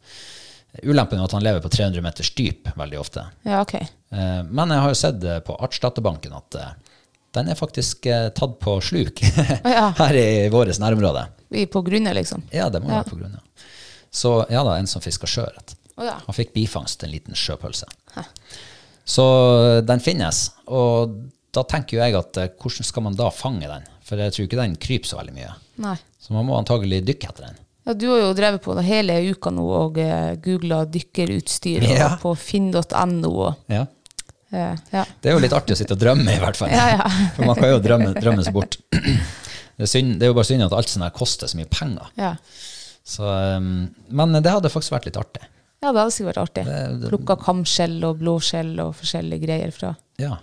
Speaker 1: Ulempen er at han lever på 300 meters dyp veldig ofte.
Speaker 2: Ja, ok.
Speaker 1: Eh, Men jeg har jo sett eh, på Artsdatabanken at eh, den er faktisk eh, tatt på sluk (laughs)
Speaker 2: ja.
Speaker 1: her i vårt nærområde.
Speaker 2: Vi er på grunnet, liksom.
Speaker 1: Ja, det må jo
Speaker 2: Ja.
Speaker 1: være på grunn av. Så ja da, en som fisker sjøørret.
Speaker 2: Å ja.
Speaker 1: Han fikk bifangst, en liten sjøpølse.
Speaker 2: Hæ.
Speaker 1: Så eh, den finnes, og da tenker jo jeg at eh, hvordan skal man da fange den? For jeg tror ikke den kryper så veldig mye.
Speaker 2: Nei.
Speaker 1: Så man må antagelig dykke etter den.
Speaker 2: Ja, du har jo drevet på det hele uka nå og eh, googla dykkerutstyr og
Speaker 1: Ja.
Speaker 2: på finn.no og
Speaker 1: Ja.
Speaker 2: eh, ja.
Speaker 1: Det er jo litt artig å sitte og drømme, i hvert fall.
Speaker 2: (laughs) Ja, ja.
Speaker 1: For man kan jo drømme, drømme seg bort. (clears throat) Det er, synd, det er jo bare synd at alt sånt her koster så mye penger.
Speaker 2: ja.
Speaker 1: Så, um, men det hadde faktisk vært litt artig.
Speaker 2: Ja, det hadde sikkert vært artig. Plukka kamskjell og blåskjell og forskjellige greier fra.
Speaker 1: Ja.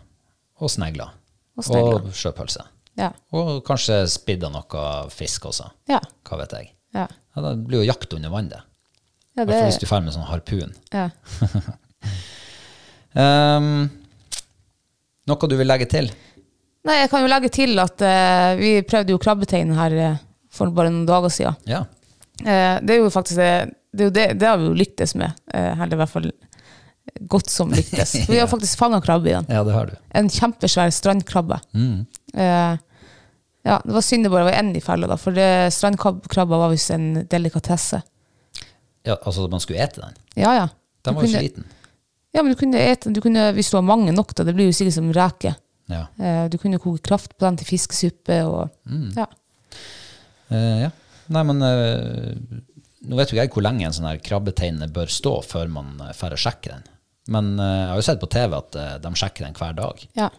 Speaker 1: Og snegler.
Speaker 2: Og snegler.
Speaker 1: Og sjøpølse.
Speaker 2: Ja.
Speaker 1: Og kanskje spidda noe fisk også.
Speaker 2: Ja.
Speaker 1: Hva vet jeg.
Speaker 2: Ja.
Speaker 1: Ja, det blir jo jakt under vann, det. I
Speaker 2: ja
Speaker 1: hvert
Speaker 2: det
Speaker 1: fall hvis du drar med sånn harpun.
Speaker 2: ja.
Speaker 1: Um, noe du vil legge til?
Speaker 2: Nei, jeg kan jo legge til at eh, vi prøvde jo krabbeteinen her eh, for bare noen dager siden.
Speaker 1: Ja.
Speaker 2: Eh, det er jo faktisk det, det, er jo det, det har vi jo lyktes med, eh, eller i hvert fall godt som lyktes.
Speaker 1: (laughs)
Speaker 2: For vi har faktisk fanga krabbe i den.
Speaker 1: Ja, det har du.
Speaker 2: En kjempesvær strandkrabbe.
Speaker 1: Mm.
Speaker 2: Eh, ja, det var synd det bare var én i fella, da, for det- strandkrabba var visst en delikatesse.
Speaker 1: Ja, altså at man skulle ete den.
Speaker 2: Ja, ja.
Speaker 1: Den
Speaker 2: Du
Speaker 1: var jo
Speaker 2: kunne-
Speaker 1: sliten.
Speaker 2: Ja, men du kunne ete, du kunne, hvis du har mange nok, da, det blir jo sikkert som reker.
Speaker 1: Ja.
Speaker 2: Eh, Du kunne koke kraft på den til fiskesuppe og
Speaker 1: Mm.
Speaker 2: ja.
Speaker 1: Eh, ja. Nei, men eh, nå vet jo ikke jeg hvor lenge en sånn her krabbeteine bør stå før man eh, færre sjekker den. Men eh, jeg har jo sett på TV at eh, de sjekker den hver dag.
Speaker 2: Ja.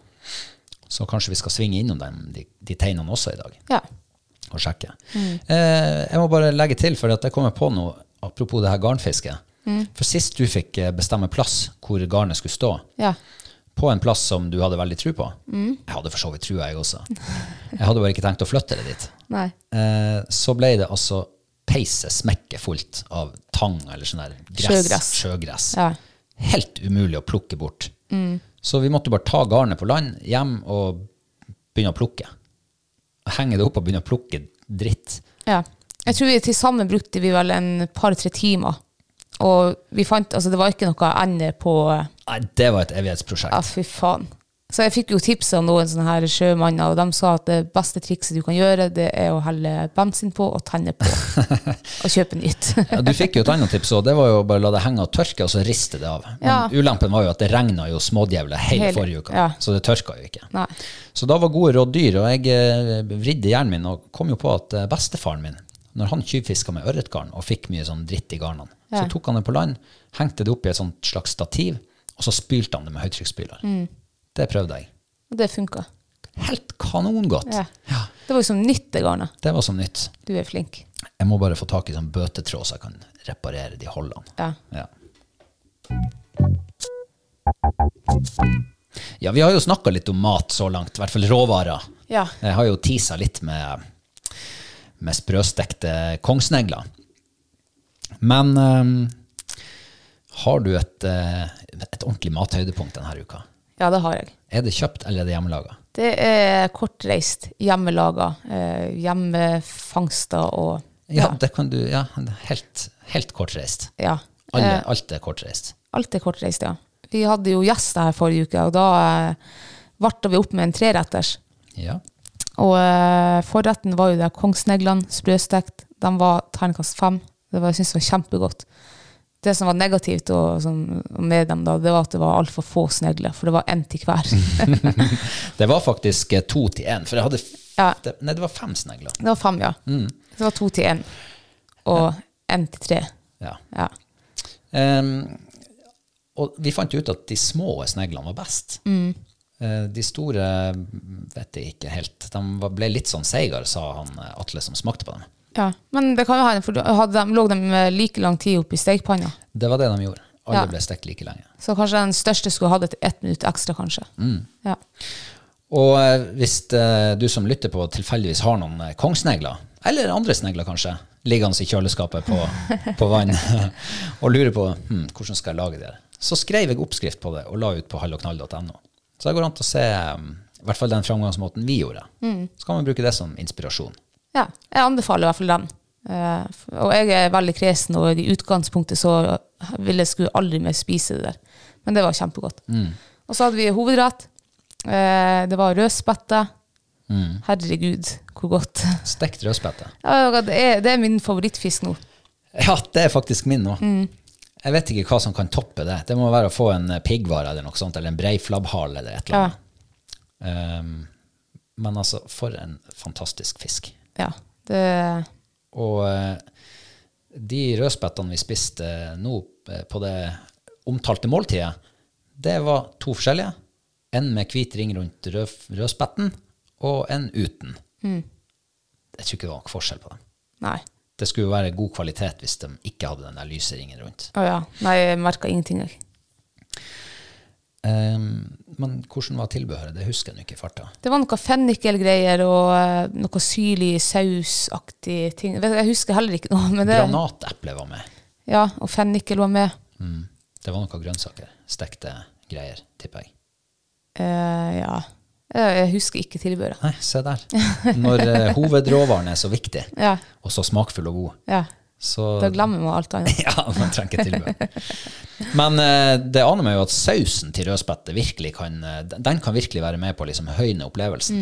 Speaker 1: Så kanskje vi skal svinge innom dem, de, de teinene også i dag
Speaker 2: ja.
Speaker 1: og sjekke. Eh, jeg må bare legge til, for at jeg kommer på noe apropos det her garnfisket. For sist du fikk eh, bestemme plass hvor garnet skulle stå,
Speaker 2: Ja.
Speaker 1: på en plass som du hadde veldig tru på Jeg hadde for så vidt trua, jeg også. Jeg hadde bare ikke tenkt å flytte det dit.
Speaker 2: Nei.
Speaker 1: Eh, så ble det altså peiset smekke fullt av tang eller sånn der gress.
Speaker 2: Sjøgress.
Speaker 1: sjøgress.
Speaker 2: Ja.
Speaker 1: Helt umulig å plukke bort. Så vi måtte bare ta garnet på land, hjem og begynne å plukke. Henge det opp og begynne å plukke dritt.
Speaker 2: ja. Jeg tror vi til sammen brukte vi vel en par-tre timer. Og vi fant Altså, det var ikke noe ende på eh,
Speaker 1: Nei, det var et evighetsprosjekt.
Speaker 2: Ja, fy faen. Så jeg fikk jo tips av noen sånne her sjømanner, og de sa at det beste trikset du kan gjøre, det er å helle bensin på og tenne
Speaker 1: (laughs)
Speaker 2: på. og kjøpe nytt.
Speaker 1: Ja, du fikk jo et annet tips òg. Det var jo bare å la det henge og tørke, og så riste det av. Men
Speaker 2: Ja.
Speaker 1: ulempen var jo at det regna jo smådjevler hele,
Speaker 2: Hele-
Speaker 1: forrige uka,
Speaker 2: ja.
Speaker 1: så det tørka jo ikke.
Speaker 2: (laughs) Nei.
Speaker 1: Så da var gode råd dyr, og jeg eh, vridde hjernen min og kom jo på at eh, bestefaren min, når han tjuvfiska med ørretgarn og fikk mye sånn dritt i garnene, så
Speaker 2: Ja.
Speaker 1: tok han det på land, hengte det opp i et sånt slags stativ, og så spylte han det med høytrykksspyler.
Speaker 2: Mm.
Speaker 1: Det prøvde jeg.
Speaker 2: Og det funka.
Speaker 1: Helt kanongodt.
Speaker 2: Ja. Det var jo som nytt, det garnet.
Speaker 1: Det var som nytt.
Speaker 2: Du er flink.
Speaker 1: Jeg må bare få tak i sånn bøtetråd, så jeg kan reparere de hullene.
Speaker 2: Ja.
Speaker 1: Ja. ja, vi har jo snakka litt om mat så langt, i hvert fall råvarer.
Speaker 2: Ja.
Speaker 1: Jeg har jo tisa litt med, med sprøstekte kongsnegler. Men ehm, har du et, eh, et ordentlig mathøydepunkt denne uka?
Speaker 2: Ja, det har jeg.
Speaker 1: Er det kjøpt, eller er det hjemmelaga?
Speaker 2: Det er kortreist, hjemmelaga, eh, hjemmefangster og
Speaker 1: Ja, det kan du Ja, helt, helt kortreist.
Speaker 2: ja.
Speaker 1: Alle,
Speaker 2: Eh,
Speaker 1: alt er kortreist.
Speaker 2: alt er kortreist, ja. Vi hadde jo gjester her forrige uke, og da eh, varta vi opp med en treretters.
Speaker 1: Ja.
Speaker 2: Og eh, forretten var jo der kongsneglene, sprøstekt. De var terningkast fem. Det var, jeg synes det var kjempegodt. Det som var negativt og, som, med dem, da, det var at det var altfor få snegler, for det var én til hver.
Speaker 1: Det var faktisk eh, to til én, for jeg hadde f
Speaker 2: Ja.
Speaker 1: det, Nei, det var fem snegler.
Speaker 2: det var fem, ja. Det var to til én, og én til tre.
Speaker 1: Ja.
Speaker 2: Ja.
Speaker 1: Ehm, og vi fant jo ut at de små sneglene var best. Eh, de store mm, vet jeg ikke helt. De var- ble litt sånn seigere, sa han eh, Atle som smakte på dem.
Speaker 2: Ja, Men det kan jo hende, for hadde de, lå de like lang tid oppi stekepanna.
Speaker 1: Det var det de gjorde. Alle
Speaker 2: Ja.
Speaker 1: ble stekt like lenge.
Speaker 2: Så kanskje den største skulle hatt et ett minutt ekstra, kanskje. Ja.
Speaker 1: Og eh, hvis eh, du som lytter på tilfeldigvis har noen eh, kongsnegler, eller andre snegler kanskje, liggende i kjøleskapet på, på vann, (laughs) og lurer på hm, hvordan skal jeg lage det, her?" så skrev jeg oppskrift på det og la ut på hallogknall.no. Så det går an til å se mm, i hvert fall den framgangsmåten vi gjorde. Så kan man bruke det som inspirasjon.
Speaker 2: Ja, jeg anbefaler i hvert fall den. Eh, f- og jeg er veldig kresen, og i utgangspunktet så ville jeg skulle aldri mer spise det der. Men det var kjempegodt. Og så hadde vi hovedrett. Eh, det var rødspette. Herregud, hvor godt.
Speaker 1: Stekt rødspette.
Speaker 2: Ja, det, er, det er min favorittfisk nå.
Speaker 1: Ja, det er faktisk min nå. Jeg vet ikke hva som kan toppe det. Det må være å få en eh, piggvare eller noe sånt, eller en brei flabbhale eller et eller
Speaker 2: Ja.
Speaker 1: annet. Um, men altså, for en fantastisk fisk.
Speaker 2: ja det,
Speaker 1: Og eh, de rødspettene vi spiste nå eh, på det omtalte måltidet, det var to forskjellige. En med hvit ring rundt rød, rødspetten, og en uten. Jeg tror ikke det var noen forskjell på dem.
Speaker 2: nei.
Speaker 1: Det skulle jo være god kvalitet hvis de ikke hadde den der lyse ringen rundt.
Speaker 2: Å ja. Nei, jeg merka ingenting, jeg.
Speaker 1: Ehm, men hvordan var tilbehøret? Det husker jeg nå ikke i farta.
Speaker 2: Det var noe fennikelgreier og eh, noe syrlig sausaktig ting. Vet du, Jeg husker heller ikke noe. Men det,
Speaker 1: Granateple var med.
Speaker 2: ja, og fennikel var med.
Speaker 1: Mm. Det var noen grønnsaker. Stekte greier, tipper jeg.
Speaker 2: Eh, ja. Eh, Jeg husker ikke tilbehøret.
Speaker 1: (laughs) Nei, se der. Når eh, hovedråvaren er så viktig,
Speaker 2: Ja,
Speaker 1: og så smakfull og god,
Speaker 2: ja.
Speaker 1: Så
Speaker 2: Da glemmer man alt annet.
Speaker 1: (laughs) Ja, man trenger ikke tilbud. Men eh, det aner meg jo at sausen til rødspette virkelig kan eh, den- Den kan virkelig være med på å liksom høyne opplevelsen.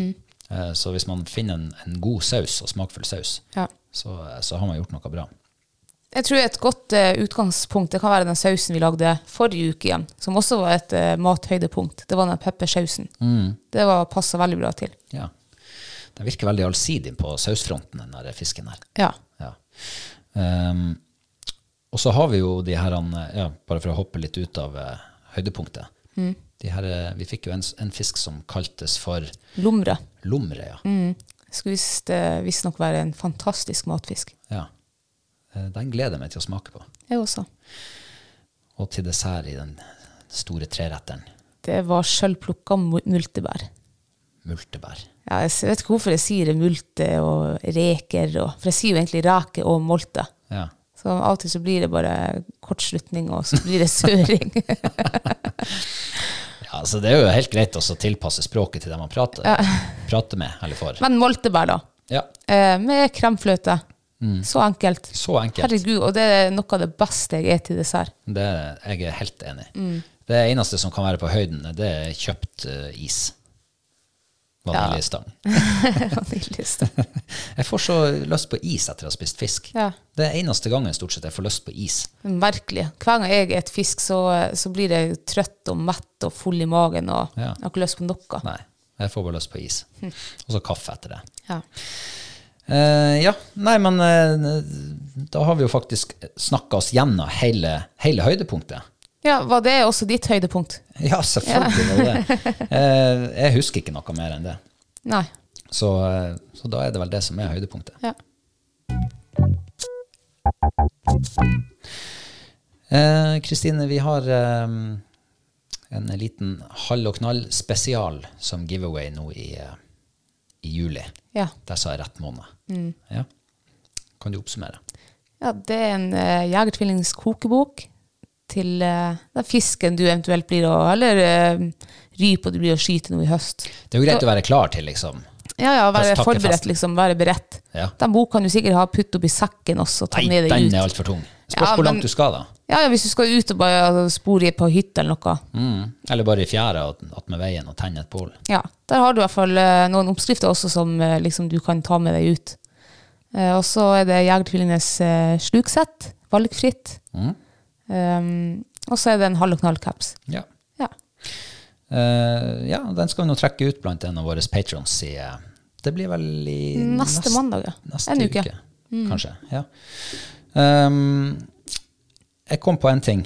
Speaker 1: Eh, Så hvis man finner en, en god saus og smakfull saus,
Speaker 2: Ja.
Speaker 1: så, eh, så har man gjort noe bra.
Speaker 2: Jeg tror et godt eh, utgangspunkt det kan være den sausen vi lagde forrige uke igjen, som også var et eh, mathøydepunkt. Det var den peppersausen. Det var passa veldig bra til.
Speaker 1: Ja. Den virker veldig allsidig på sausfronten, den der fisken her.
Speaker 2: Ja.
Speaker 1: Ja. Ehm, og så har vi jo de her, han, ja, bare for å hoppe litt ut av eh, høydepunktet
Speaker 2: Mm.
Speaker 1: de her, eh, Vi fikk jo en, s- en fisk som kaltes for
Speaker 2: Lomre
Speaker 1: lomre, ja.
Speaker 2: Mm. skulle visst, eh, visstnok være en fantastisk matfisk.
Speaker 1: ja. Eh, Den gleder jeg meg til å smake på.
Speaker 2: Jeg også.
Speaker 1: Og til dessert i den store treretteren
Speaker 2: Det var sjølplukka multebær.
Speaker 1: multebær.
Speaker 2: Ja, jeg s- vet ikke hvorfor jeg sier multe og reker, og, for jeg sier jo egentlig rake og molte.
Speaker 1: Ja.
Speaker 2: Så av og til så blir det bare kortslutning, og så blir det søring.
Speaker 1: (laughs) ja, så det er jo helt greit også å tilpasse språket til dem man prater, prater med eller for.
Speaker 2: Men moltebær, da.
Speaker 1: Ja,
Speaker 2: Eh, med kremfløte. Så enkelt.
Speaker 1: Mm. så enkelt.
Speaker 2: Herregud, og det er noe av det beste jeg er til
Speaker 1: (laughs)
Speaker 2: dessert.
Speaker 1: Det er jeg er helt enig i. Det eneste som kan være på høyden, det er kjøpt eh, is. Vaniljestang.
Speaker 2: Vaniljeste.
Speaker 1: (laughs) Jeg får så lyst på is etter å ha spist fisk.
Speaker 2: Ja.
Speaker 1: Det er eneste gangen stort sett jeg får lyst på is.
Speaker 2: Merkelig. Hver gang jeg et fisk, så, så blir jeg trøtt og mett og full i magen og
Speaker 1: Ja.
Speaker 2: jeg har ikke lyst på noe.
Speaker 1: Nei, jeg får bare lyst på is. Og så kaffe etter det.
Speaker 2: Ja.
Speaker 1: Eh, ja, nei, men eh, da har vi jo faktisk snakka oss gjennom hele, hele høydepunktet.
Speaker 2: ja, var det også ditt høydepunkt?
Speaker 1: Ja, selvfølgelig var det det. Eh, jeg husker ikke noe mer enn det.
Speaker 2: Nei.
Speaker 1: Så, eh, så da er det vel det som er høydepunktet.
Speaker 2: Ja.
Speaker 1: Eh, Kristine, vi har eh, en liten halv og knall spesial som giveaway nå i, eh, i juli.
Speaker 2: Ja.
Speaker 1: Der sa jeg rett måned.
Speaker 2: Mm.
Speaker 1: Ja. Kan du oppsummere?
Speaker 2: ja, det er en uh, jegertvillings kokebok til eh, den fisken du eventuelt blir å Eller uh, rypa du blir å skyte nå i høst.
Speaker 1: Det er jo greit å være klar til, liksom.
Speaker 2: Ja, ja, være
Speaker 1: Takkefest.
Speaker 2: forberedt, liksom. Være beredt.
Speaker 1: Ja.
Speaker 2: Den boka kan du sikkert ha putt oppi sekken også. Ta
Speaker 1: Nei,
Speaker 2: med deg
Speaker 1: den
Speaker 2: ut.
Speaker 1: er altfor tung. Spørs
Speaker 2: Ja,
Speaker 1: hvor
Speaker 2: men-
Speaker 1: langt du skal, da.
Speaker 2: Ja, ja, hvis du skal ut og bare altså, spore på hytta eller noe.
Speaker 1: Mm. Eller bare i fjæra og attmed veien og tenne et bål.
Speaker 2: Ja, Der har du i hvert fall eh, noen oppskrifter også som eh, liksom, du kan ta med deg ut. Eh, og så er det Jegertvillingenes eh, sluksett, valgfritt.
Speaker 1: Mm.
Speaker 2: Um, og så er det en halv og knall caps.
Speaker 1: Ja.
Speaker 2: Ja.
Speaker 1: Eh, ja, den skal vi nå trekke ut blant en av våre patrons i eh, Det blir vel i
Speaker 2: Neste
Speaker 1: nest-
Speaker 2: mandag, ja.
Speaker 1: Neste
Speaker 2: En
Speaker 1: uke,
Speaker 2: uke. Mm.
Speaker 1: kanskje. Ja. Ehm, jeg kom på en ting.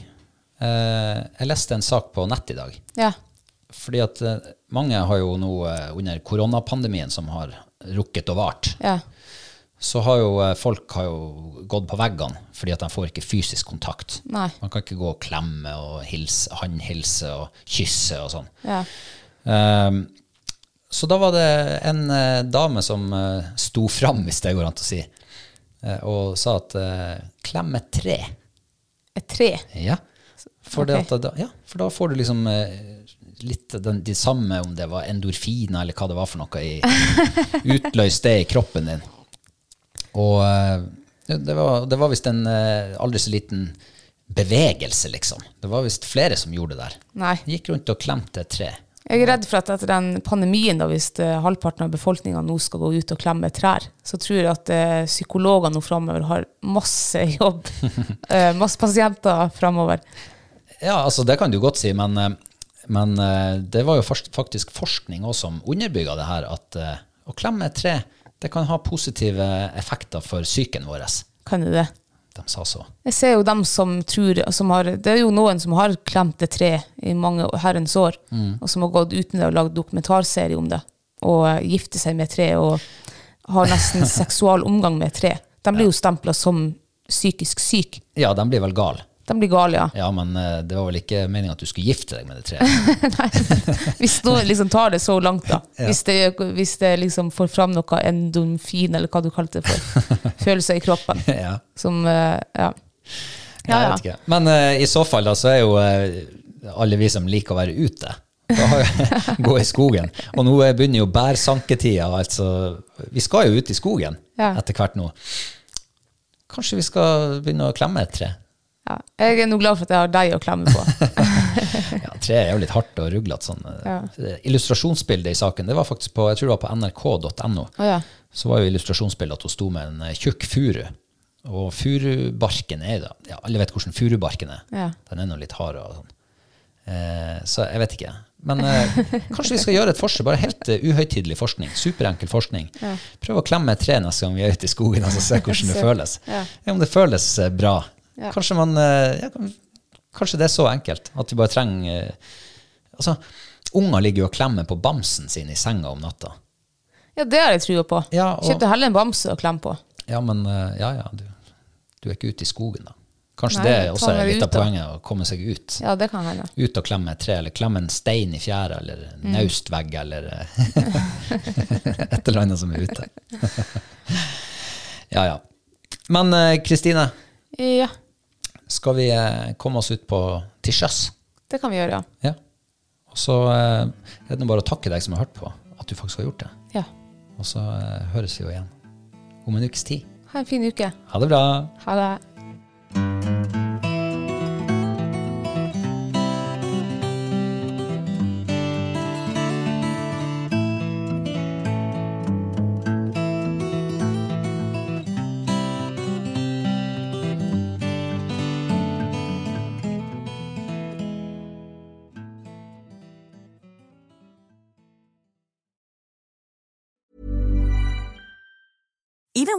Speaker 1: Eh, jeg leste en sak på nett i dag.
Speaker 2: ja.
Speaker 1: Fordi at eh, mange har jo nå eh, under koronapandemien som har rukket og vart,
Speaker 2: ja.
Speaker 1: så har jo eh, folk har jo gått på veggene fordi at de får ikke fysisk kontakt.
Speaker 2: Nei.
Speaker 1: Man kan ikke gå og klemme og hilse, håndhilse og kysse og sånn.
Speaker 2: ja.
Speaker 1: Ehm, så da var det en eh, dame som eh, sto fram, hvis det går an å si, eh, og sa at eh, klem et tre.
Speaker 2: Et tre.
Speaker 1: Ja. For, det
Speaker 2: Ok.
Speaker 1: at, da- ja, for da får du liksom eh, litt den, de samme, om det var endorfiner eller hva det var for noe, i, utløst det i kroppen din. Og eh, det var, det var visst en eh, aldri så liten bevegelse, liksom. Det var visst flere som gjorde det der.
Speaker 2: Nei.
Speaker 1: Gikk rundt og klemte et tre.
Speaker 2: Jeg er redd for at etter den pandemien, da, hvis eh, halvparten av befolkninga nå skal gå ut og klemme trær, så tror jeg at eh, psykologene nå framover har masse jobb. eh, masse pasienter framover.
Speaker 1: Ja, altså det kan du godt si, men, eh, men eh, det var jo fors- faktisk forskning også som underbygga det her, at eh, å klemme et tre det kan ha positive effekter for psyken vår.
Speaker 2: Kan jeg det?
Speaker 1: De sa så.
Speaker 2: Jeg ser jo dem som tror som har, Det er jo noen som har klemt et tre i mange herrens år,
Speaker 1: Mm.
Speaker 2: og som har gått ut med det og lagd dokumentarserie om det, og eh, gifter seg med et tre og har nesten (laughs) seksual omgang med et tre. De blir jo stempla som psykisk syk.
Speaker 1: Ja, de blir vel gal.
Speaker 2: De blir gale, ja.
Speaker 1: Ja, men eh, det var vel ikke meninga at du skulle gifte deg med det treet. (laughs)
Speaker 2: Hvis noen liksom tar det så langt, da. Hvis det, hvis det liksom får fram noe endorfin, eller hva du kalte
Speaker 1: (laughs)
Speaker 2: det for. Følelser i kroppen.
Speaker 1: ja.
Speaker 2: Som eh, Ja.
Speaker 1: Ja, jeg vet ikke. Men eh, i så fall da, så er jo eh, alle vi som liker å være ute, da har jo- (laughs) gå i skogen. Og nå eh, begynner jo bærsanketida. Altså, vi skal jo ut i skogen
Speaker 2: Ja.
Speaker 1: etter hvert nå. Kanskje vi skal begynne å klemme et tre?
Speaker 2: Ja. Jeg er nå glad for at jeg har deg å klemme
Speaker 1: (laughs)
Speaker 2: på.
Speaker 1: Ja, tre er jo litt hardt og ruglete. Sånn. eh, Illustrasjonsbildet i saken det var faktisk på jeg tror det var på nrk.no.
Speaker 2: Å ja.
Speaker 1: Så var jo illustrasjonsbildet at hun sto med en eh, tjukk furu. Og furubarken er jo da, ja, Alle vet hvordan furubarken er.
Speaker 2: Ja.
Speaker 1: Den er nå litt hardere. og Sånn. Eh, så jeg vet ikke. Men
Speaker 2: (laughs)
Speaker 1: eh, kanskje vi skal gjøre et forsøk. Bare helt eh, uhøytidelig forskning. Superenkel forskning. Prøv å klemme et tre neste gang vi er ute i skogen, og så se hvordan
Speaker 2: (laughs)
Speaker 1: det føles. Ja, Om det føles eh, bra. Kanskje, man, eh, ja, kan- kanskje det er så enkelt at vi bare trenger eh, Altså, unger ligger jo og klemmer på bamsen sin i senga om natta.
Speaker 2: ja, det har jeg trua på.
Speaker 1: Ja, og-
Speaker 2: Kjøpte heller en bamse å klemme på.
Speaker 1: Ja, men eh, ja, ja, du, du er ikke ute i skogen, da. Kanskje
Speaker 2: Nei,
Speaker 1: det
Speaker 2: ta
Speaker 1: også er
Speaker 2: deg
Speaker 1: litt av
Speaker 2: ut, da.
Speaker 1: poenget, å komme seg ut.
Speaker 2: Ja, det kan hende.
Speaker 1: Ut og klemme et tre, eller klemme en stein i fjæra, eller en naustvegg, eller eh, (laughs) et eller annet som er ute. (laughs) ja, ja. Men eh, Kristine,
Speaker 2: Ja,
Speaker 1: skal vi eh, komme oss ut på til sjøs?
Speaker 2: det kan vi gjøre, ja.
Speaker 1: Ja. Og så eh, er det nå bare å takke deg som har hørt på, at du faktisk har gjort det.
Speaker 2: ja.
Speaker 1: Og så eh, høres vi jo igjen om en ukes tid.
Speaker 2: Ha en fin uke.
Speaker 1: Ha det bra!
Speaker 2: Ha det.
Speaker 3: Even